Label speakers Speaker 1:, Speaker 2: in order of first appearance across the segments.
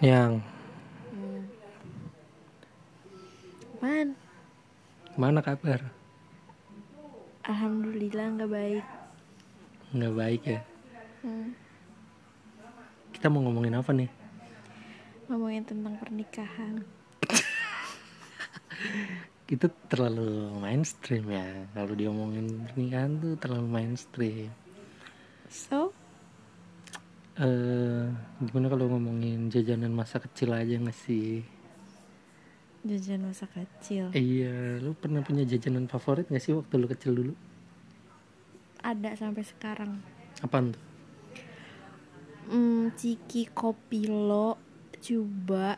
Speaker 1: Yang
Speaker 2: Hmm. Apaan?
Speaker 1: mana kabar?
Speaker 2: Alhamdulillah nggak baik.
Speaker 1: Nggak baik ya.
Speaker 2: Hmm.
Speaker 1: Kita mau ngomongin apa nih?
Speaker 2: Ngomongin tentang pernikahan.
Speaker 1: Kita terlalu mainstream ya. Kalau diomongin pernikahan tuh terlalu mainstream.
Speaker 2: So,
Speaker 1: Eh, gimana kalau ngomongin jajanan masa kecil aja nggak sih?
Speaker 2: jajan masa kecil.
Speaker 1: Eh, Iya, lu pernah punya jajanan favorit nggak sih waktu lu kecil dulu?
Speaker 2: Ada sampai sekarang.
Speaker 1: Apaan tuh?
Speaker 2: Hmm, ciki kopilo coba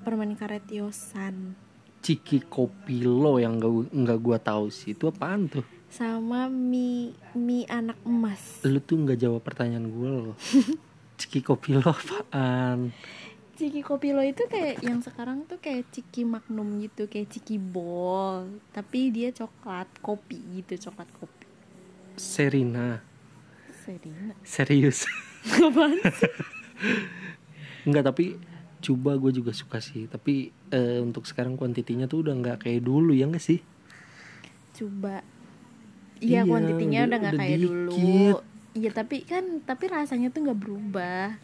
Speaker 2: permen karet yosan
Speaker 1: Ciki Kopilo yang nggak gu- nggak gua tahu sih itu apaan tuh?
Speaker 2: sama mie mie anak emas.
Speaker 1: Lu tuh nggak jawab pertanyaan gua loh. Ciki Kopilo apaan?
Speaker 2: Ciki kopilo itu kayak yang sekarang tuh kayak ciki magnum gitu, kayak ciki bol, tapi dia coklat kopi gitu, coklat kopi.
Speaker 1: Serina,
Speaker 2: Serina.
Speaker 1: serius?
Speaker 2: Apaan?
Speaker 1: Enggak tapi coba gue juga suka sih tapi eh, untuk sekarang kuantitinya tuh udah nggak kayak dulu ya nggak sih
Speaker 2: coba iya
Speaker 1: Iya,
Speaker 2: kuantitinya
Speaker 1: udah-
Speaker 2: udah nggak
Speaker 1: udah
Speaker 2: kayak
Speaker 1: dikit.
Speaker 2: dulu iya tapi kan tapi rasanya tuh nggak berubah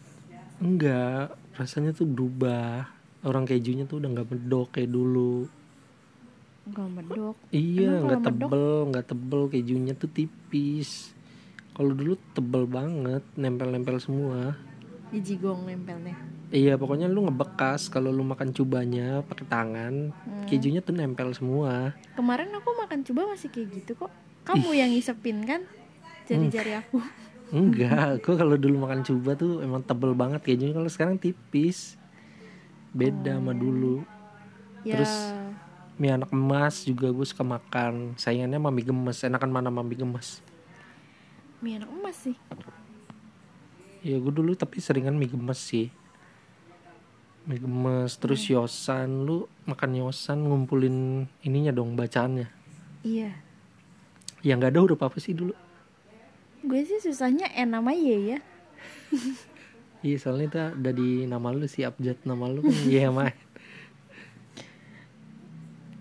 Speaker 1: enggak rasanya tuh berubah orang kejunya tuh udah nggak medok kayak dulu
Speaker 2: nggak medok
Speaker 1: iya
Speaker 2: Emang kalau
Speaker 1: nggak
Speaker 2: medok?
Speaker 1: tebel nggak tebel kejunya tuh tipis kalau dulu tebel banget nempel-nempel semua
Speaker 2: jijigong nempelnya
Speaker 1: iya pokoknya lu ngebekas kalau lu makan cubanya pakai tangan
Speaker 2: Hmm.
Speaker 1: kejunya tuh nempel semua
Speaker 2: kemarin aku makan coba masih kayak gitu kok kamu yang ngisepin kan
Speaker 1: Hmm.
Speaker 2: jari-jari aku
Speaker 1: Enggak, gue kalau dulu makan cuba tuh emang tebel banget kejunya kalau sekarang tipis. Beda sama dulu.
Speaker 2: ya
Speaker 1: Terus? Mie anak emas juga gue suka makan. Sayangannya mami gemes. Enakan mana mami gemes?
Speaker 2: mie anak emas sih
Speaker 1: Ya gue dulu tapi seringan mie gemes sih. Mie gemes terus yosan lu makan yosan ngumpulin ininya dong bacaannya.
Speaker 2: iya
Speaker 1: Ya nggak ada huruf apa sih dulu?
Speaker 2: gue sih susahnya n nama y ya
Speaker 1: Iya soalnya itu ada di nama lu sih abjad nama lu kan Iya mah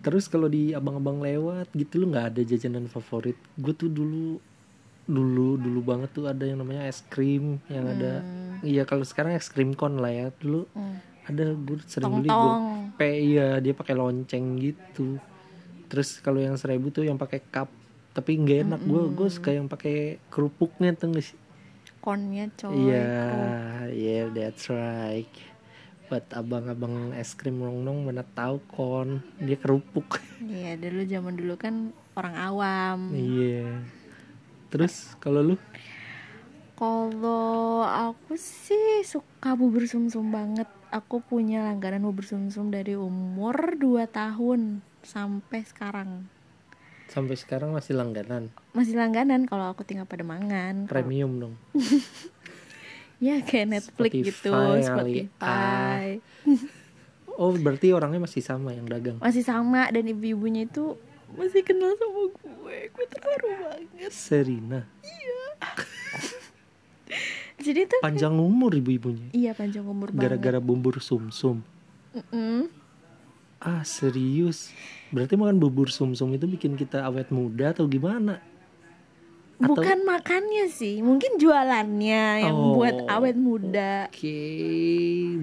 Speaker 1: Terus kalau di abang-abang lewat gitu lu nggak ada jajanan favorit Gue tuh dulu Dulu dulu banget tuh ada yang namanya es krim Yang ada Iya kalau sekarang es krim kon lah ya Dulu
Speaker 2: Hmm.
Speaker 1: ada gue sering beli
Speaker 2: tong-tong
Speaker 1: gue Iya dia pakai lonceng gitu Terus kalau yang seribu tuh yang pakai cup tapi nggak enak gue gue suka yang pakai kerupuknya tuh nggak sih
Speaker 2: konnya coy
Speaker 1: Iya, yeah, that's right. Buat abang-abang es krim rongnong mana tahu kon dia kerupuk.
Speaker 2: iya dulu zaman dulu kan orang awam
Speaker 1: Iya. Terus kalau lu
Speaker 2: Kalau aku sih suka bubur sumsum banget. Aku punya langganan bubur sumsum dari umur 2 tahun sampai sekarang.
Speaker 1: sampai sekarang masih langganan
Speaker 2: Masih langganan kalau aku tinggal pada mangan. Kalau-
Speaker 1: premium dong.
Speaker 2: Ya kayak Netflix
Speaker 1: Spotify,
Speaker 2: gitu,
Speaker 1: kali, ya.
Speaker 2: Spotify.
Speaker 1: Oh, berarti orangnya masih sama yang dagang.
Speaker 2: Masih sama dan ibu-ibunya itu masih kenal sama gue. Gue terharu banget.
Speaker 1: Serina.
Speaker 2: Jadi tuh
Speaker 1: Panjang umur ibu-ibunya.
Speaker 2: iya panjang umur banget. Mm.
Speaker 1: Gara-gara bubur sumsum.
Speaker 2: Mm-mm.
Speaker 1: Ah, serius. Berarti makan bubur sumsum itu bikin kita awet muda atau gimana? Atau-
Speaker 2: Bukan makannya sih, mungkin jualannya yang
Speaker 1: Oh.
Speaker 2: buat awet muda.
Speaker 1: Oke,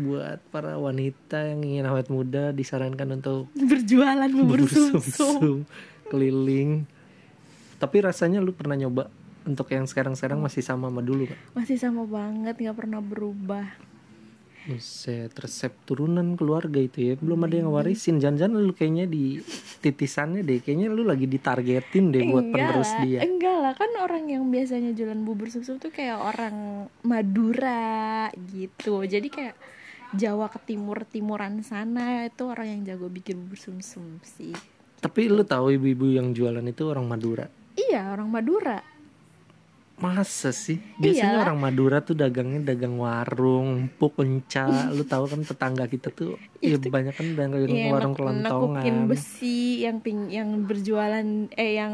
Speaker 1: buat para wanita yang ingin awet muda disarankan untuk
Speaker 2: berjualan bubur sumsum
Speaker 1: bersumsum keliling. Tapi rasanya lu pernah nyoba untuk yang sekarang-sekarang masih sama sama dulu, Pak.
Speaker 2: masih sama banget nggak pernah berubah
Speaker 1: Buset, resep turunan keluarga itu ya. Belum ada yang warisin. Jangan-jangan lu kayaknya di titisannya deh. Kayaknya lu lagi ditargetin deh buat penerus
Speaker 2: lah
Speaker 1: dia.
Speaker 2: enggak lah kan orang yang biasanya jualan bubur sumsum tuh kayak orang Madura gitu jadi kayak Jawa ke timur timuran sana itu orang yang jago bikin bubur sumsum sih
Speaker 1: Tapi lu tahu ibu-ibu yang jualan itu orang Madura.
Speaker 2: iya orang Madura
Speaker 1: Masa sih? Biasanya
Speaker 2: Iyalah.
Speaker 1: orang Madura tuh dagangnya dagang warung, empuk, lenca. Lu tahu kan tetangga kita tuh ya banyak kan dagang
Speaker 2: Iya,
Speaker 1: warung
Speaker 2: nek- nekukin
Speaker 1: kelontongan.
Speaker 2: besi yang ping yang
Speaker 1: Hmm.
Speaker 2: berjualan eh yang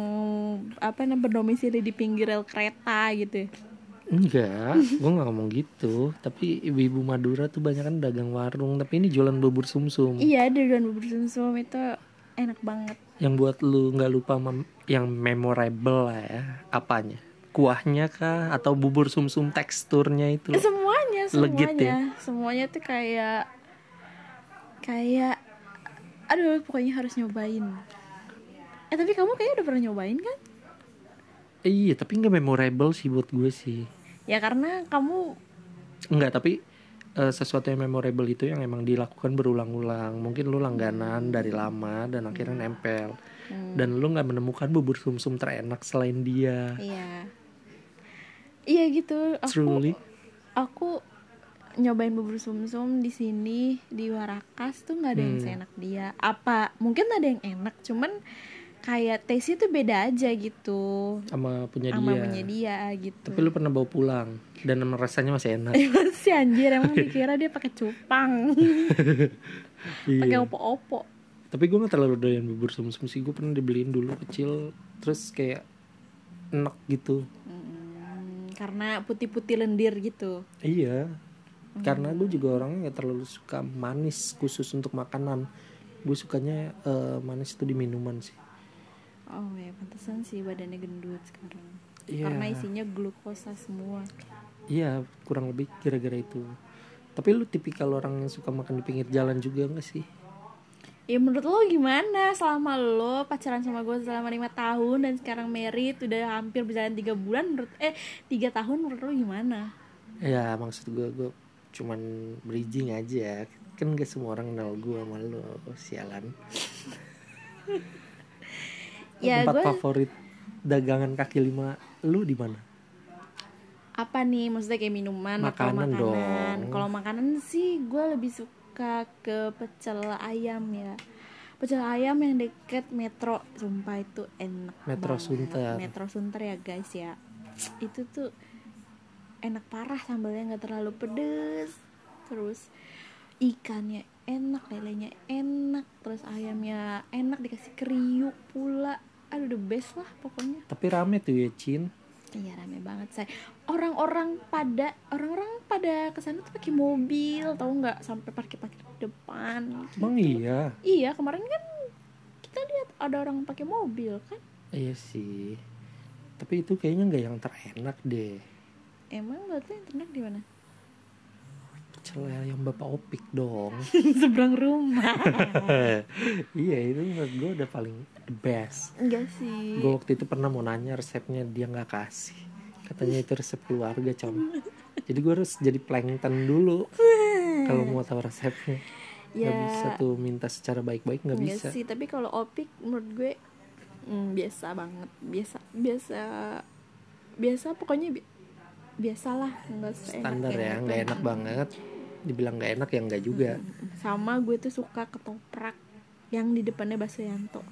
Speaker 2: apa namanya berdomisili di pinggir rel kereta gitu
Speaker 1: Enggak, gue gak ngomong gitu Tapi ibu-ibu Madura tuh banyak kan dagang warung Tapi ini jualan bubur sumsum
Speaker 2: Iya, ada duluan bubur sumsum itu enak banget.
Speaker 1: Yang buat lu gak lupa mem- yang memorable lah ya Apanya? Kuahnya kah? Atau bubur sumsum teksturnya itu loh.
Speaker 2: Semuanya,
Speaker 1: Legit ya?
Speaker 2: semuanya. Semuanya tuh kayak kayak aduh, pokoknya harus nyobain. Eh, tapi kamu kayaknya udah pernah nyobain kan?
Speaker 1: Eh, Iya tapi gak memorable sih buat gue sih
Speaker 2: Ya karena kamu
Speaker 1: Enggak tapi eh, sesuatu yang memorable itu yang emang dilakukan berulang-ulang Mungkin lu langganan dari lama dan akhirnya nempel
Speaker 2: Hmm.
Speaker 1: Dan lu gak menemukan bubur sumsum terenak selain dia
Speaker 2: iya. Iya gitu. Aku
Speaker 1: Truly
Speaker 2: aku nyobain bubur sumsum di sini di Warakas tuh nggak ada yang
Speaker 1: Hmm.
Speaker 2: seenak dia. Apa mungkin ada yang enak, cuman kayak taste itu beda aja gitu.
Speaker 1: sama punya
Speaker 2: Sama
Speaker 1: dia
Speaker 2: punya dia gitu.
Speaker 1: Tapi lu pernah bawa pulang dan emang rasanya masih
Speaker 2: Eh,
Speaker 1: enak.
Speaker 2: si anjir emang dikira dia pakai cupang, pakai
Speaker 1: iya.
Speaker 2: opo-opo.
Speaker 1: Tapi gue gak terlalu doyan bubur sumsum sih. Gue pernah dibeliin dulu kecil, terus kayak enak gitu.
Speaker 2: Hmm, karena putih-putih lendir gitu.
Speaker 1: Iya.
Speaker 2: Hmm.
Speaker 1: Karena gue juga orangnya gak terlalu suka manis khusus untuk makanan. Gue sukanya eh, manis itu di minuman sih.
Speaker 2: Oh ya pantesan sih badannya gendut sekarang.
Speaker 1: Iya.
Speaker 2: Karena isinya glukosa semua.
Speaker 1: Iya, kurang lebih gara-gara itu. Tapi lu tipikal orang yang suka makan di pinggir jalan juga gak sih?
Speaker 2: Ya menurut lo gimana selama lo pacaran sama gue selama lima tahun dan sekarang married udah hampir berjalan tiga bulan menurut eh tiga tahun menurut lo gimana?
Speaker 1: Ya maksud gue gue cuman bridging aja kan gak semua orang kenal gue sama lo sialan
Speaker 2: Ya
Speaker 1: tempat
Speaker 2: gue
Speaker 1: favorit dagangan kaki lima lu di mana
Speaker 2: apa nih maksudnya kayak minuman atau
Speaker 1: Makanan
Speaker 2: makanan?
Speaker 1: dong.
Speaker 2: Kalau makanan sih gue lebih suka ke pecel ayam ya. Pecel ayam yang deket Metro sumpah itu enak.
Speaker 1: Metro
Speaker 2: banget.
Speaker 1: Sunter.
Speaker 2: Metro Sunter ya guys ya. Itu tuh enak parah sambalnya nggak terlalu pedes. Terus ikannya enak, lelenya enak, terus ayamnya enak dikasih kriuk pula. Aduh the best lah pokoknya.
Speaker 1: tapi rame tuh ya Cin
Speaker 2: Iya rame banget saya. Orang-orang pada orang-orang pada kesana tuh pakai mobil, tahu nggak sampai parkir-parkir di depan.
Speaker 1: emang iya
Speaker 2: Iya kemarin kan kita lihat ada orang pakai mobil kan.
Speaker 1: iya sih tapi itu kayaknya nggak yang terenak deh
Speaker 2: Emang berarti yang ternak di mana?
Speaker 1: pecel yang bapak opik dong
Speaker 2: Seberang rumah.
Speaker 1: iya itu menurut gue udah paling the best
Speaker 2: Enggak sih.
Speaker 1: gue waktu itu pernah mau nanya resepnya dia nggak kasih katanya itu resep keluarga com jadi gue harus jadi plankton dulu kalau mau tahu resepnya nggak bisa tuh minta secara baik-baik nggak
Speaker 2: Enggak
Speaker 1: bisa
Speaker 2: Ya, Iya sih, tapi kalau opik menurut gue mm, biasa banget, biasa biasa biasa pokoknya bi- biasalah enggak seenak-
Speaker 1: standar ya nggak enak banget dibilang nggak enak ya nggak juga
Speaker 2: sama gue tuh suka ketoprak yang di depannya bakso Yanto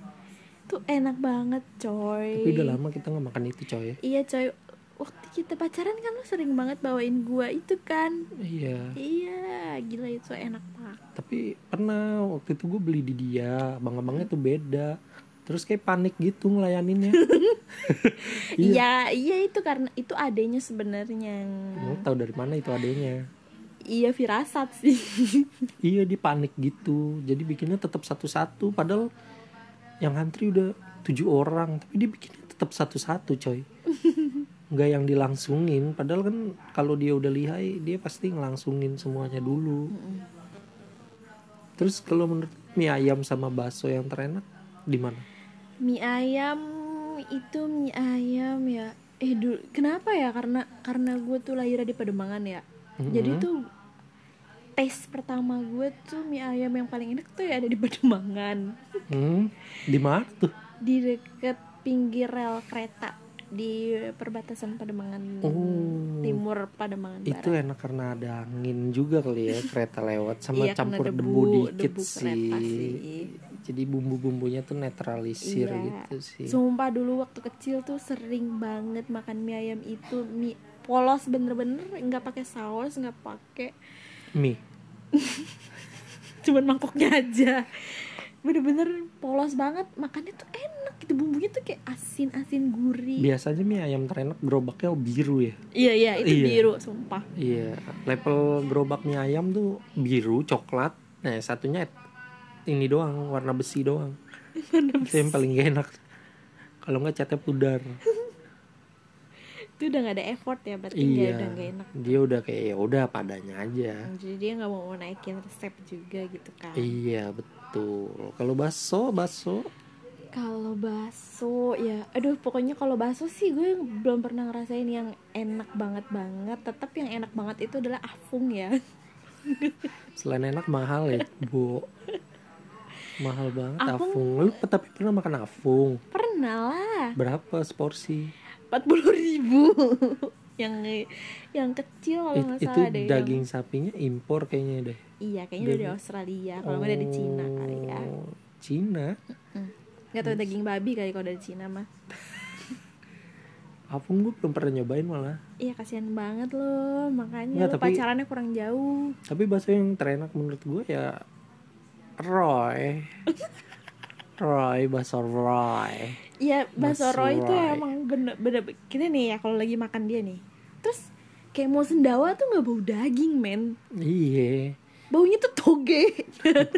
Speaker 2: tuh enak banget coy
Speaker 1: tapi udah lama kita nggak makan itu coy
Speaker 2: iya coy waktu kita pacaran kan lo sering banget bawain gue itu kan
Speaker 1: iya
Speaker 2: iya gila itu enak banget
Speaker 1: tapi pernah waktu itu gue beli di dia bang abangnya tuh beda terus kayak panik gitu ngelayaninnya
Speaker 2: iya iya itu karena itu adanya sebenarnya
Speaker 1: mau tahu dari mana itu adanya
Speaker 2: iya firasat sih
Speaker 1: iya dia panik gitu jadi bikinnya tetap satu-satu padahal yang antri udah tujuh orang tapi dia bikinnya tetap satu-satu coy nggak yang dilangsungin padahal kan kalau dia udah lihai dia pasti ngelangsungin semuanya dulu terus kalau menurut mie ayam sama bakso yang terenak di mana
Speaker 2: mie ayam itu mie ayam ya eh dulu kenapa ya karena karena gue tuh lahirnya di Pademangan ya jadi tuh tes pertama gue tuh mie ayam yang paling enak tuh ya ada di Pademangan
Speaker 1: hmm, di mana tuh
Speaker 2: di deket pinggir rel kereta di perbatasan Pademangan
Speaker 1: Oh.
Speaker 2: timur Pademangan
Speaker 1: itu
Speaker 2: barat
Speaker 1: enak karena ada angin juga kali ya kereta lewat sama
Speaker 2: Iya, karena
Speaker 1: campur debu,
Speaker 2: debu-
Speaker 1: dikit
Speaker 2: debu
Speaker 1: sih.
Speaker 2: kereta sih.
Speaker 1: jadi bumbu-bumbunya tuh netralisir
Speaker 2: Iya.
Speaker 1: gitu sih
Speaker 2: Sumpah dulu waktu kecil tuh sering banget makan mie ayam itu mie polos bener-bener nggak pakai saus nggak pakai
Speaker 1: mie
Speaker 2: cuman mangkoknya aja bener-bener polos banget makannya tuh enak gitu itu bumbunya tuh kayak asin-asin gurih.
Speaker 1: Biasanya mie ayam terenak gerobaknya biru ya.
Speaker 2: Iya iya itu
Speaker 1: Iya.
Speaker 2: biru sumpah.
Speaker 1: Iya, level gerobak mie ayam tuh biru, coklat. Nah, satunya ini doang, warna besi doang. Itu yang paling gak enak. Kalau nggak catnya pudar.
Speaker 2: Itu udah gak ada effort ya berarti nggak
Speaker 1: iya.
Speaker 2: udah gak enak.
Speaker 1: Dia udah kayak ya udah padanya aja.
Speaker 2: Jadi dia nggak mau naikin resep juga gitu kan.
Speaker 1: Iya, betul. Kalau bakso, bakso
Speaker 2: Kalau bakso ya, aduh pokoknya kalau bakso sih gue belum pernah ngerasain yang enak banget banget. Tetap yang enak banget itu adalah afung ya.
Speaker 1: selain enak mahal ya, Bu. Mahal banget
Speaker 2: Afung-
Speaker 1: afung. Lu pe- tapi pernah makan afung?
Speaker 2: Pernah lah,
Speaker 1: Berapa seporsi?
Speaker 2: empat puluh ribu. yang yang kecil kalau
Speaker 1: It-
Speaker 2: nggak
Speaker 1: itu
Speaker 2: salah deh. yang-
Speaker 1: daging sapinya impor kayaknya deh.
Speaker 2: Iya kayaknya dari
Speaker 1: daging-
Speaker 2: Australia, kalau nggak dari Cina kali ya.
Speaker 1: Oh, Cina?
Speaker 2: Gak tau daging babi kali kalau dari Cina mah.
Speaker 1: Apung gue belum pernah nyobain malah.
Speaker 2: Iya kasihan banget loh, makanya
Speaker 1: Nggak,
Speaker 2: lo
Speaker 1: tapi-
Speaker 2: pacarannya kurang jauh.
Speaker 1: Tapi bakso yang terenak menurut gue ya Roy. Roy, bakso Roy.
Speaker 2: Iya, bakso
Speaker 1: Bakso
Speaker 2: Roy itu
Speaker 1: Roy.
Speaker 2: emang bener bener kita nih ya kalau lagi makan dia nih. Terus kayak mau sendawa tuh nggak bau daging men,
Speaker 1: Iya.
Speaker 2: baunya tuh toge.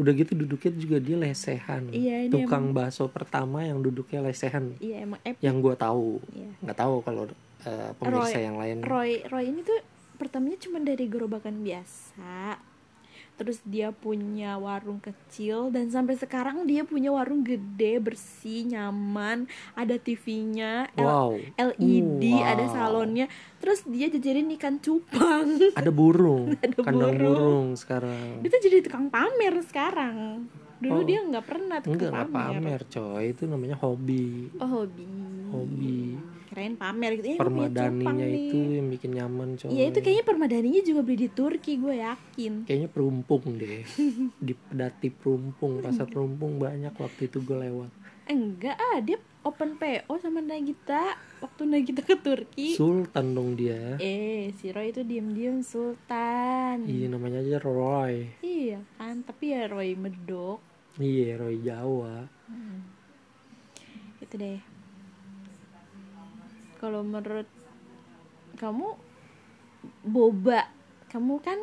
Speaker 1: Udah gitu duduknya juga dia lesehan.
Speaker 2: Iya, ini
Speaker 1: Tukang bakso pertama yang duduknya lesehan.
Speaker 2: Iya emang epic.
Speaker 1: Yang gue tahu.
Speaker 2: Iya.
Speaker 1: Nggak tahu kalau eh, pemirsa yang lain.
Speaker 2: Roy Roy ini tuh pertamanya cuma dari gerobakan biasa. Terus dia punya warung kecil dan sampai sekarang dia punya warung gede, bersih, nyaman, ada TV-nya, L-
Speaker 1: Wow.
Speaker 2: LED,
Speaker 1: Wow.
Speaker 2: ada salonnya. Terus dia jajarin ikan cupang.
Speaker 1: Ada burung.
Speaker 2: Ada
Speaker 1: Kandang
Speaker 2: burung.
Speaker 1: burung sekarang.
Speaker 2: Dia tuh jadi tukang pamer sekarang. Dulu
Speaker 1: Oh.
Speaker 2: dia nggak pernah
Speaker 1: Enggak,
Speaker 2: tukang
Speaker 1: nggak
Speaker 2: pamer.
Speaker 1: pamer coy. Itu namanya hobi.
Speaker 2: Oh, hobi.
Speaker 1: Hobi.
Speaker 2: Keren pamer gitu. Eh, gue punya cupang
Speaker 1: permadaninya
Speaker 2: nih.
Speaker 1: itu yang bikin nyaman coy
Speaker 2: Iya itu kayaknya permadaninya juga beli di Turki gue yakin.
Speaker 1: kayaknya perumpung deh di pedati perumpung pasar perumpung banyak waktu itu gue lewat
Speaker 2: Enggak ah dia open PO sama Nagita waktu Nagita ke Turki.
Speaker 1: sultan dong dia
Speaker 2: eh si Roy itu diem-diem Sultan.
Speaker 1: iya namanya aja Roy
Speaker 2: Iya kan tapi ya Roy medok
Speaker 1: iya Roy Jawa
Speaker 2: itu deh. Kalau menurut kamu boba kamu kan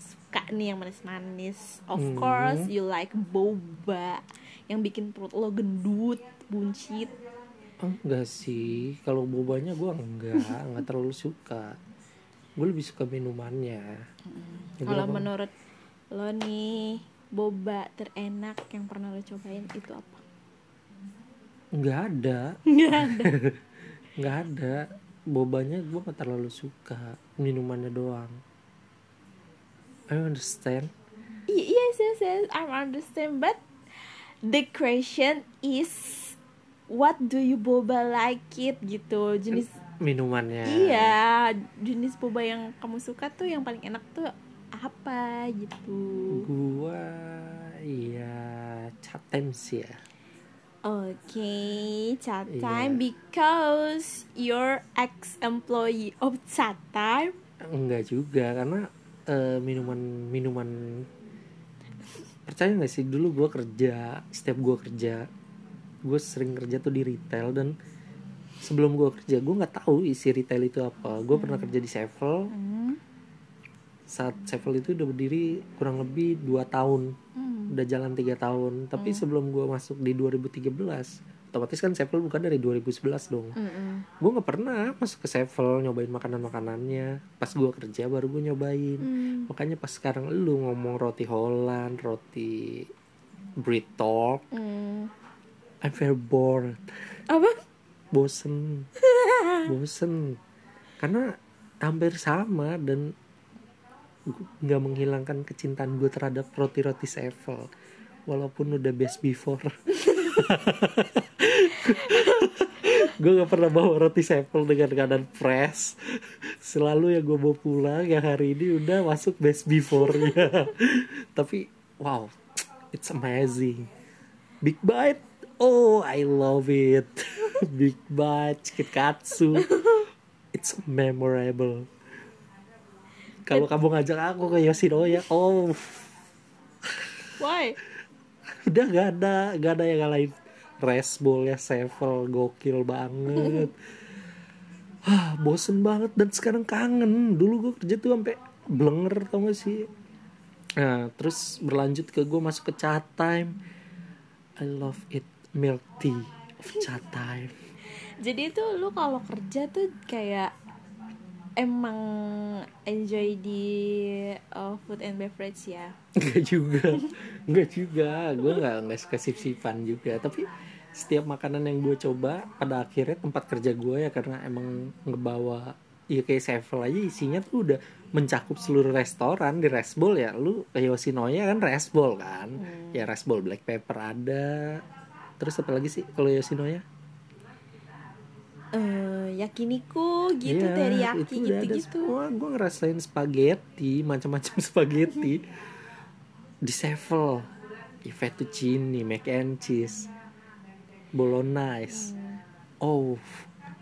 Speaker 2: suka nih yang manis-manis. Of
Speaker 1: Hmm.
Speaker 2: course you like boba yang bikin perut lo gendut, buncit.
Speaker 1: enggak sih kalau bobanya gue enggak enggak terlalu suka gue lebih suka minumannya Ya,
Speaker 2: Kalau
Speaker 1: berapa?
Speaker 2: menurut lo nih boba terenak yang pernah lo cobain itu apa?
Speaker 1: enggak ada
Speaker 2: Nggak ada.
Speaker 1: enggak ada bobanya gue enggak terlalu suka minumannya doang I understand
Speaker 2: Y- yes yes yes I understand but the question is what do you boba like it gitu jenis
Speaker 1: minumannya
Speaker 2: iya jenis boba yang kamu suka tuh yang paling enak tuh apa gitu
Speaker 1: gua iya catem sih ya
Speaker 2: Okay, chat
Speaker 1: Iya.
Speaker 2: time because you're ex employee of chat time.
Speaker 1: enggak juga karena eh, minuman minuman percaya nggak sih dulu gua kerja setiap gua kerja gue sering kerja tuh di retail dan sebelum gua kerja gua nggak tahu isi retail itu apa gue pernah kerja di Sevel
Speaker 2: Hmm.
Speaker 1: saat Sevel itu udah berdiri kurang lebih 2 tahun
Speaker 2: Hmm.
Speaker 1: udah jalan tiga tahun tapi sebelum gua masuk di 2013 otomatis kan Sevel bukan dari 2011 dong
Speaker 2: Mm-mm.
Speaker 1: gue nggak pernah masuk ke Sevel nyobain makanan makanannya pas gua kerja baru gue nyobain
Speaker 2: Hmm.
Speaker 1: makanya pas sekarang lu ngomong roti Holland roti Brittle
Speaker 2: Hmm.
Speaker 1: I'm very bored
Speaker 2: Apa?
Speaker 1: bosen bosen karena hampir sama dan gua nggak menghilangkan kecintaan gue terhadap roti-roti Sevel walaupun udah best before gue gak pernah bawa roti Sevel dengan keadaan fresh selalu yang gue bawa pulang yang hari ini udah masuk best before nya tapi wow it's amazing big bite oh I love it big bite chikitkatsu it's memorable kalau kamu ngajak aku ke Yoshinoya oh
Speaker 2: Why?
Speaker 1: udah gak ada gak ada yang lain rice bowlnya ya, sevel gokil banget ah bosen banget dan sekarang kangen dulu gue kerja tuh sampai blenger tau gak sih nah terus berlanjut ke gue masuk ke chat time I love it milk tea of chat time
Speaker 2: Jadi itu lu kalau kerja tuh kayak emang enjoy di uh, food and beverage ya.
Speaker 1: Enggak juga Enggak juga Gue gak, nggak suka sip-sipan juga Tapi setiap makanan yang gue coba Pada akhirnya tempat kerja gue ya Karena emang ngebawa Ya kayak sevel aja isinya tuh udah Mencakup seluruh restoran di Rice Bowl ya Lu ke Yoshinoya kan Rice Bowl kan Ya Rice Bowl Black Pepper ada Terus apa lagi sih kalau Yoshinoya?
Speaker 2: Eh, yakiniku gitu
Speaker 1: Iya,
Speaker 2: teriyaki
Speaker 1: itu udah ada
Speaker 2: gitu-gitu.
Speaker 1: semua. Gue ngerasain spaghetti, macam-macam spaghetti di Sevel, di fettuccine, mac and cheese, bolognese. Oh,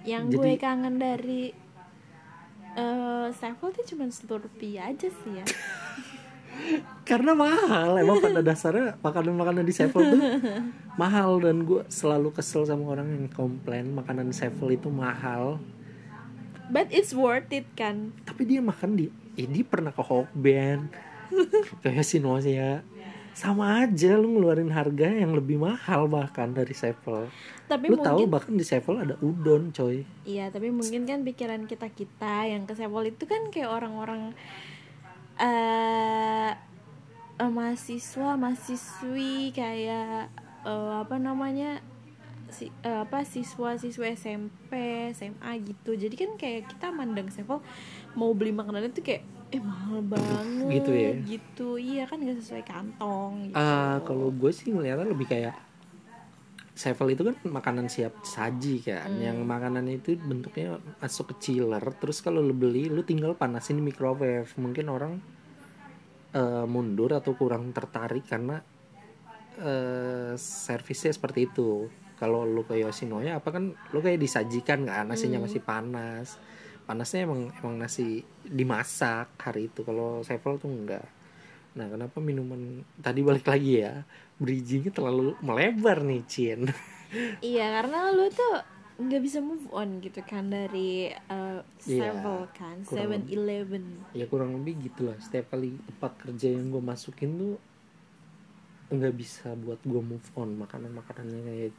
Speaker 2: Yang
Speaker 1: Jadi-
Speaker 2: gue kangen dari eh Sevel tuh cuma Slurpee aja sih ya.
Speaker 1: karena mahal emang pada dasarnya makanan-makanan di Sevel tuh mahal dan gue selalu kesel sama orang yang komplain makanan Sevel itu mahal.
Speaker 2: But it's worth it kan.
Speaker 1: Tapi dia makan di, eh, dia pernah ke Hokben, ke Yoshinoya sama aja lu ngeluarin harga yang lebih mahal bahkan dari Sevel.
Speaker 2: Tapi
Speaker 1: lu tahu
Speaker 2: mungkin
Speaker 1: bahkan di Sevel ada udon coy
Speaker 2: Iya, tapi mungkin kan pikiran kita-kita yang ke Sepol itu kan kayak orang-orang eh eh, mahasiswa, mahasiswi kayak eh, apa namanya? si eh, apa siswa-siswa SMP, SMA gitu. Jadi kan kayak kita mandang Sepol mau beli makanan itu kayak eh mahal banget
Speaker 1: Gitu ya?
Speaker 2: gitu. Iya kan gak sesuai kantong gitu.
Speaker 1: ah kalau gue sih ngeliatnya lebih kayak Sevel itu kan makanan siap saji kan
Speaker 2: Hmm.
Speaker 1: yang makanan itu bentuknya masuk ke chiller terus kalau lu beli lu tinggal panasin di microwave mungkin orang eh, mundur atau kurang tertarik karena eh servisnya seperti itu kalau lu ke Yoshinoya apa kan lu kayak disajikan kan nasinya masih panas panasnya emang emang nasi dimasak hari itu kalau Sevel tuh enggak nah kenapa minuman tadi balik lagi ya bridgingnya terlalu melebar nih Cien
Speaker 2: Iya karena lu tuh nggak bisa move on gitu kan dari uh,
Speaker 1: Iya,
Speaker 2: Sevel kan
Speaker 1: kurang
Speaker 2: Seven
Speaker 1: lebih.
Speaker 2: Eleven
Speaker 1: ya kurang lebih gitulah setiap kali tempat kerja yang gue masukin tuh nggak bisa buat gue move on makanan makanannya kayak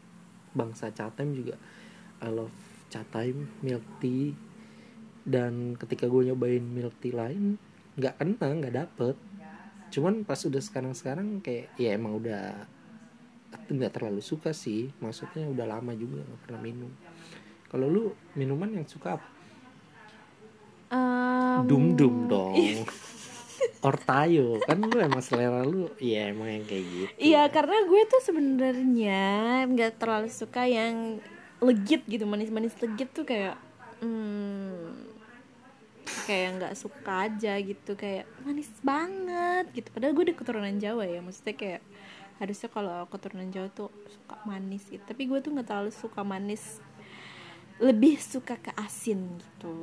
Speaker 1: bangsa catem juga I love catem milk tea dan ketika gue nyobain milk tea lain nggak kena nggak dapet cuman pas udah sekarang sekarang kayak ya emang udah nggak terlalu suka sih maksudnya udah lama juga nggak pernah minum kalau lu minuman yang suka apa?
Speaker 2: Um,
Speaker 1: Dum dum dong. Ortayo kan lu emang selera lu ya emang yang kayak gitu.
Speaker 2: Iya karena gue tuh sebenarnya nggak terlalu suka yang legit gitu manis-manis legit tuh kayak hmm, kayak nggak suka aja gitu kayak manis banget gitu padahal gue udah keturunan Jawa ya maksudnya kayak harusnya kalau keturunan Jawa tuh suka manis gitu tapi gue tuh nggak terlalu suka manis lebih suka ke asin gitu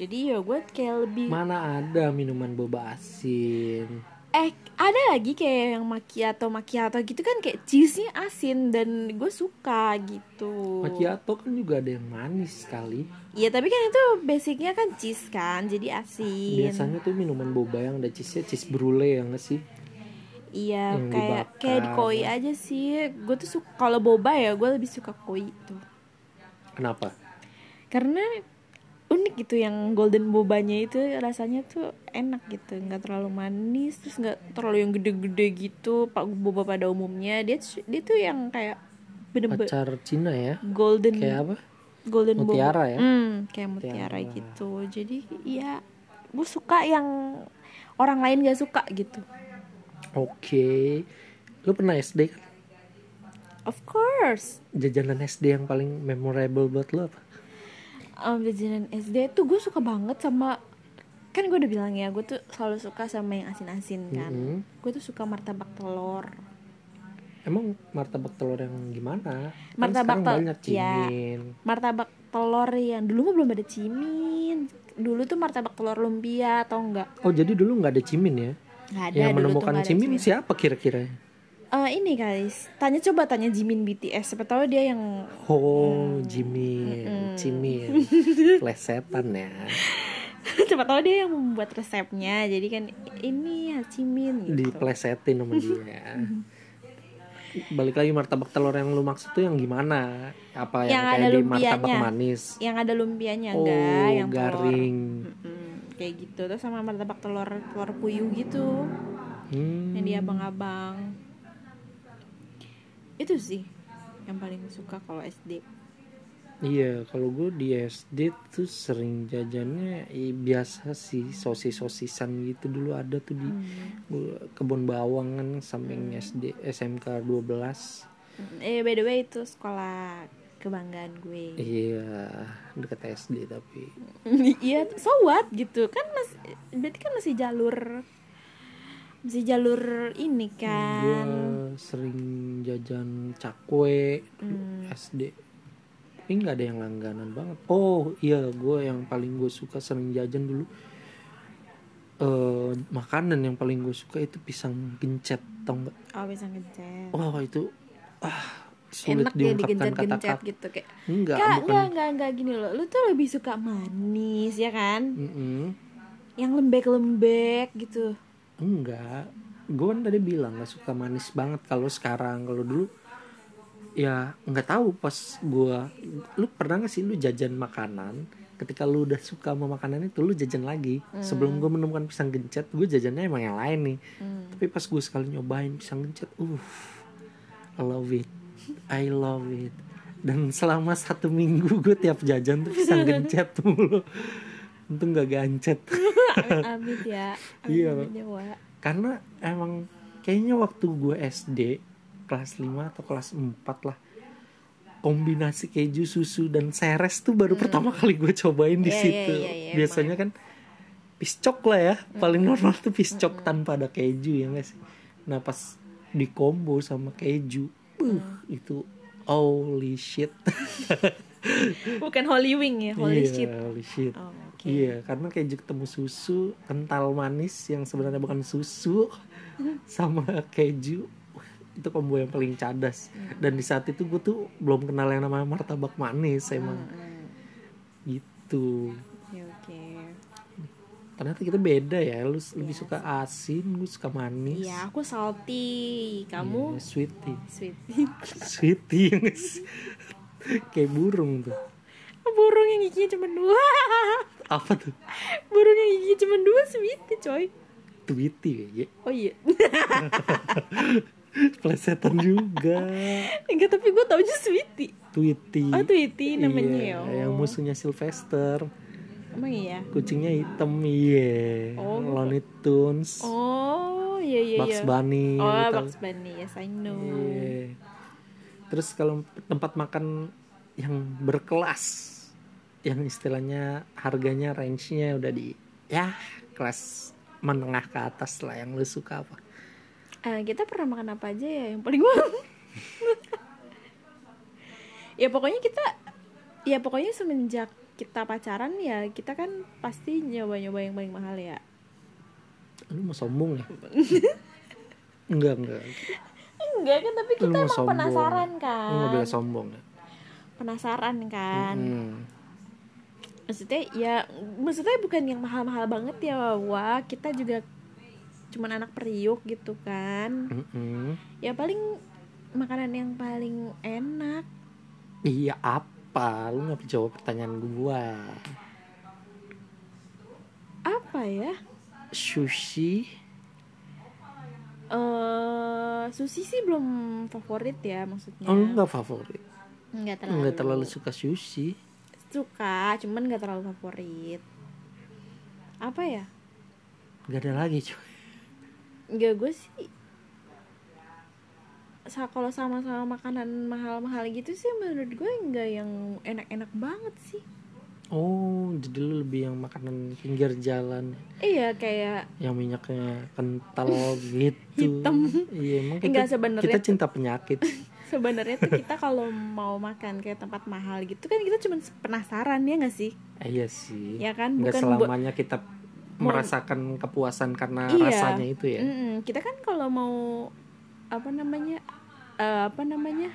Speaker 2: jadi ya gue kayak lebih
Speaker 1: Mana ada minuman boba asin?
Speaker 2: eh ada lagi kayak yang macchiato macchiato gitu kan kayak cheese-nya asin dan gue suka gitu
Speaker 1: Macchiato kan juga ada yang manis sekali.
Speaker 2: Iya tapi kan itu basicnya kan cheese kan jadi asin
Speaker 1: Biasanya tuh minuman boba yang ada cheese-nya cheese brulee ya nggak sih?
Speaker 2: iya
Speaker 1: yang
Speaker 2: kayak
Speaker 1: dibakar.
Speaker 2: kayak di koi aja sih gue tuh suka kalau boba ya gue lebih suka koi tuh
Speaker 1: Kenapa?
Speaker 2: karena unik gitu yang golden bobanya itu rasanya tuh enak gitu nggak terlalu manis terus nggak terlalu yang gede-gede gitu pak boba pada umumnya dia dia tuh yang kayak bener-bener
Speaker 1: Pacar Cina ya?
Speaker 2: golden
Speaker 1: Kayak apa?
Speaker 2: golden boba.
Speaker 1: Mutiara ya?
Speaker 2: Hmm, kayak mutiara
Speaker 1: Mutiara.
Speaker 2: gitu jadi ya gue suka yang orang lain gak suka gitu
Speaker 1: Oke. Lu pernah SD kan?
Speaker 2: of course
Speaker 1: Jajanan SD yang paling memorable buat lu apa?
Speaker 2: um, jajanan SD tuh gue suka banget sama kan gue udah bilang ya gue tuh selalu suka sama yang asin-asin kan
Speaker 1: Mm-mm.
Speaker 2: gue tuh suka martabak telur
Speaker 1: Emang martabak telur yang gimana? Kan
Speaker 2: Martabak
Speaker 1: sekarang
Speaker 2: tel-
Speaker 1: banyak
Speaker 2: ya.
Speaker 1: cimin.
Speaker 2: martabak telur yang dulu mah belum ada cimin dulu tuh martabak telur lumpia atau enggak
Speaker 1: Oh jadi dulu nggak ada cimin ya?
Speaker 2: nggak ada
Speaker 1: yang
Speaker 2: dulu tuh
Speaker 1: menemukan
Speaker 2: nggak ada
Speaker 1: cimin, siapa kira-kira?
Speaker 2: Eh Eh, ini guys, tanya coba tanya Jimin BTS. Siapa tahu dia yang
Speaker 1: Oh,
Speaker 2: Hmm.
Speaker 1: Jimin, Jimin, plesetan ya.
Speaker 2: siapa tahu dia yang membuat resepnya. Jadi kan ini ya Jimin gitu.
Speaker 1: Diplesetin sama dia. Balik lagi martabak telur yang lu maksud tuh yang gimana? Apa yang,
Speaker 2: Yang
Speaker 1: kayak
Speaker 2: ada
Speaker 1: di martabak
Speaker 2: lumpianya.
Speaker 1: manis?
Speaker 2: Yang ada lumpianya
Speaker 1: Oh,
Speaker 2: enggak, yang telur.
Speaker 1: garing.
Speaker 2: Mm-mm, Kayak gitu terus sama martabak telur telur puyuh gitu.
Speaker 1: Hmm.
Speaker 2: yang di abang-abang itu sih yang paling suka kalau SD
Speaker 1: Iya, kalau gue di SD tuh sering jajannya i- biasa sih sosis-sosisan gitu dulu ada tuh di
Speaker 2: Hmm.
Speaker 1: gua- kebun bawang kan samping SD SMK 12.
Speaker 2: eh by the way itu sekolah kebanggaan gue
Speaker 1: Iya, dekat SD tapi.
Speaker 2: iya so what gitu kan masih berarti kan masih jalur masih jalur ini
Speaker 1: Gue
Speaker 2: kan
Speaker 1: sering jajan cakwe
Speaker 2: Hmm.
Speaker 1: SD. Ini nggak ada yang langganan banget. Oh iya, gue yang paling gue suka sering jajan dulu. eh makanan yang paling gue suka itu pisang gencet, tau nggak?
Speaker 2: oh bisa ngencet
Speaker 1: Wah itu ah sulit
Speaker 2: enak dia
Speaker 1: diungkapkan
Speaker 2: digencet-gencet
Speaker 1: kata-kata.
Speaker 2: gitu kayak
Speaker 1: Enggak,
Speaker 2: Kak, iya.
Speaker 1: bukan.
Speaker 2: enggak, enggak, enggak gini loh. Lu tuh lebih suka manis ya kan?
Speaker 1: Mm-mm.
Speaker 2: Yang lembek-lembek gitu.
Speaker 1: Enggak. Gue kan tadi bilang gak suka manis banget kalau sekarang kalau dulu ya nggak tahu pas gua lu pernah gak sih lu jajan makanan ketika lu udah suka sama makanan itu lu jajan lagi sebelum gue menemukan pisang gencet gue jajannya emang yang lain nih
Speaker 2: Hmm.
Speaker 1: tapi pas gue sekali nyobain pisang gencet uh I love it I love it dan selama satu minggu gue tiap jajan tuh pisang gencet mulu untung gak gancet
Speaker 2: Amit ya. Amit,
Speaker 1: Iya.
Speaker 2: amit ya, Wak.
Speaker 1: karena emang kayaknya waktu gue SD kelas 5 atau kelas 4 lah kombinasi keju susu dan seres tuh baru pertama kali gue cobain di
Speaker 2: Hmm. Iya, iya,
Speaker 1: situ
Speaker 2: iya, Hmm. iya,
Speaker 1: biasanya kan piscok lah ya paling normal tuh piscok
Speaker 2: Hmm.
Speaker 1: tanpa ada keju ya nggak sih nah pas di combo sama keju uh,
Speaker 2: Hmm.
Speaker 1: itu holy shit
Speaker 2: Bukan Holy Wing ya, Holy
Speaker 1: Iya,
Speaker 2: Shit.
Speaker 1: holy shit
Speaker 2: Oh, oke.
Speaker 1: Iya, karena keju ketemu susu kental manis yang sebenarnya bukan susu sama keju wah, itu combo yang paling cadas.
Speaker 2: Iya.
Speaker 1: Dan di saat itu gue tuh belum kenal yang namanya martabak manis emang
Speaker 2: Hmm,
Speaker 1: gitu.
Speaker 2: Oke, oke.
Speaker 1: Ternyata kita beda ya, lu s- lebih suka asin, gue suka manis.
Speaker 2: Iya, aku salty.
Speaker 1: Iya,
Speaker 2: Kamu
Speaker 1: sweetie,
Speaker 2: sweet.
Speaker 1: sweetie yang s- kayak burung tuh.
Speaker 2: Burung yang giginya cuma dua.
Speaker 1: Apa tuh?
Speaker 2: Burung yang giginya cuma dua sweet coy.
Speaker 1: Tweety ya,
Speaker 2: Oh iya.
Speaker 1: plesetan juga.
Speaker 2: Enggak, tapi gue taunya sweetie.
Speaker 1: Tweety.
Speaker 2: Oh, Tweety namanya
Speaker 1: Iya,
Speaker 2: ya.
Speaker 1: yang musuhnya Sylvester
Speaker 2: Emang iya.
Speaker 1: kucingnya hitam iya
Speaker 2: Oh.
Speaker 1: Looney Tunes
Speaker 2: Oh, iya iya iya.
Speaker 1: Bugs Bunny
Speaker 2: Oh,
Speaker 1: lu tahu.
Speaker 2: Bugs Bunny. Yes, I know.
Speaker 1: Iya. terus kalau tempat makan yang berkelas yang istilahnya harganya range-nya udah di ya kelas menengah ke atas lah yang lu suka apa
Speaker 2: Eh, kita pernah makan apa aja ya yang paling mahal? ya pokoknya kita ya pokoknya semenjak kita pacaran ya kita kan pasti nyoba-nyoba yang paling mahal ya.
Speaker 1: lu mau sombong ya enggak enggak
Speaker 2: Enggak kan tapi kita
Speaker 1: Lu mau
Speaker 2: emang
Speaker 1: sombong.
Speaker 2: penasaran
Speaker 1: lu nggak
Speaker 2: kan.
Speaker 1: boleh sombong ya
Speaker 2: Penasaran kan.
Speaker 1: Hmm.
Speaker 2: Maksudnya ya maksudnya bukan yang mahal-mahal banget ya wah kita juga cuman anak periuk gitu kan.
Speaker 1: Mm-mm.
Speaker 2: Ya paling makanan yang paling enak
Speaker 1: iya apa lu nggak jawab pertanyaan gua
Speaker 2: apa ya?
Speaker 1: sushi
Speaker 2: eh sushi sih belum favorit ya maksudnya.
Speaker 1: Oh, lu nggak favorit?
Speaker 2: Nggak terlalu.
Speaker 1: Nggak terlalu suka sushi.
Speaker 2: suka, cuman nggak terlalu favorit. Apa ya?
Speaker 1: Nggak ada lagi cuy.
Speaker 2: Nggak gue sih. Sa kalau sama-sama makanan mahal-mahal gitu sih menurut gue nggak yang enak-enak banget sih.
Speaker 1: Oh, jadi lu lebih yang makanan pinggir jalan
Speaker 2: Iya kayak
Speaker 1: yang minyaknya kental gitu.
Speaker 2: Hitam.
Speaker 1: Iya, emang kita,
Speaker 2: Nggak, sebenarnya
Speaker 1: kita
Speaker 2: tuh-
Speaker 1: cinta penyakit.
Speaker 2: sebenarnya tuh kita kalau mau makan ke tempat mahal gitu kan kita cuman penasaran ya nggak sih?
Speaker 1: Eh, iya sih.
Speaker 2: Ya kan
Speaker 1: Nggak
Speaker 2: bukan buat-
Speaker 1: selamanya kita
Speaker 2: Mau-
Speaker 1: merasakan kepuasan karena
Speaker 2: Iya.
Speaker 1: rasanya itu ya.
Speaker 2: Mm-mm, kita kan kalau mau apa namanya eh, apa namanya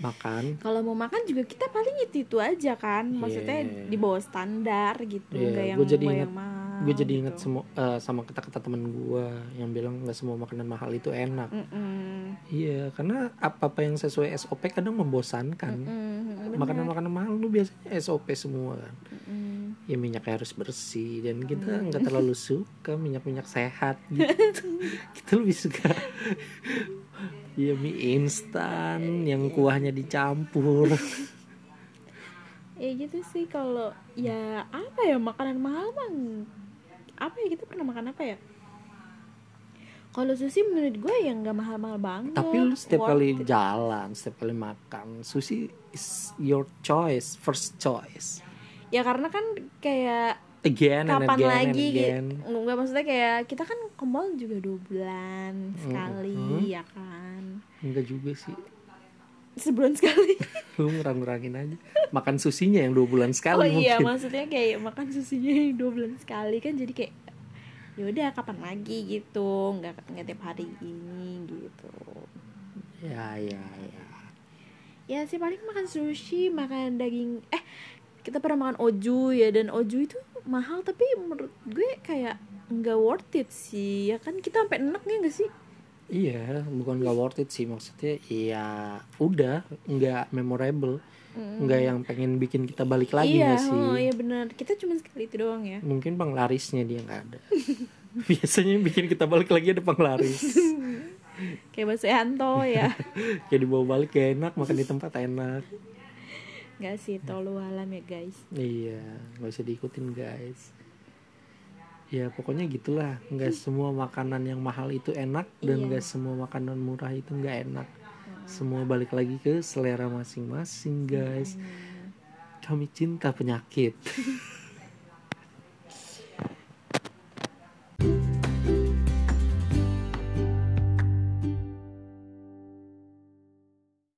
Speaker 1: makan
Speaker 2: kalau mau makan juga kita paling itu itu aja kan maksudnya
Speaker 1: Iya.
Speaker 2: di bawah standar gitu
Speaker 1: Iya,
Speaker 2: nggak yang
Speaker 1: gua jadi
Speaker 2: gua
Speaker 1: ingat-
Speaker 2: yang mahal
Speaker 1: gue jadi ingat
Speaker 2: gitu.
Speaker 1: semua eh, sama kata-kata temen gue yang bilang nggak semua makanan mahal itu enak
Speaker 2: Mm-mm.
Speaker 1: iya karena apa apa yang sesuai SOP kadang membosankan
Speaker 2: Mm-mm,
Speaker 1: makanan
Speaker 2: benar.
Speaker 1: makanan mahal lu biasanya SOP semua kan
Speaker 2: Mm-mm.
Speaker 1: ya minyaknya harus bersih dan kita nggak terlalu suka minyak minyak sehat gitu kita lebih suka ya mie instan yang
Speaker 2: Iya.
Speaker 1: kuahnya dicampur
Speaker 2: ya gitu sih kalau ya apa ya makanan mahal mah ng- apa ya kita pernah makan apa ya kalau sushi menurut gue yang nggak mahal-mahal banget
Speaker 1: tapi lu setiap
Speaker 2: Worth
Speaker 1: kali
Speaker 2: it.
Speaker 1: jalan setiap kali makan sushi is your choice first choice
Speaker 2: ya karena kan kayak
Speaker 1: again and
Speaker 2: kapan
Speaker 1: again
Speaker 2: lagi
Speaker 1: and again
Speaker 2: gitu nggak maksudnya kayak kita kan ke mall juga dua bulan sekali
Speaker 1: Mm-mm.
Speaker 2: ya kan
Speaker 1: enggak juga sih
Speaker 2: sebulan sekali
Speaker 1: lu ngurang-ngurangin aja makan susinya yang dua bulan sekali
Speaker 2: oh iya
Speaker 1: mungkin
Speaker 2: maksudnya kayak makan susinya yang dua bulan sekali kan jadi kayak yaudah kapan lagi gitu nggak nggak tiap hari ini gitu
Speaker 1: ya ya ya
Speaker 2: Ya sih paling makan sushi, makan daging eh kita pernah makan oju ya dan oju itu mahal tapi menurut gue kayak nggak worth it sih ya kan kita sampai enak ya nggak sih
Speaker 1: iya bukan gak worth it sih maksudnya ya udah nggak memorable nggak yang pengen bikin kita balik lagi
Speaker 2: Hmm. iya
Speaker 1: nggak sih
Speaker 2: oh, iya benar kita cuma sekali itu doang ya
Speaker 1: mungkin penglarisnya dia nggak ada biasanya yang bikin kita balik lagi ada penglaris
Speaker 2: kayak bahasa Yanto ya
Speaker 1: kayak dibawa balik gak enak makan di tempat enak
Speaker 2: nggak sih tolu alam ya guys
Speaker 1: Iya, nggak usah diikutin guys. Ya pokoknya gitulah, nggak semua makanan yang mahal itu enak dan
Speaker 2: Iya.
Speaker 1: nggak semua makanan murah itu nggak enak. Semua balik lagi ke selera masing-masing guys. Kami cinta penyakit.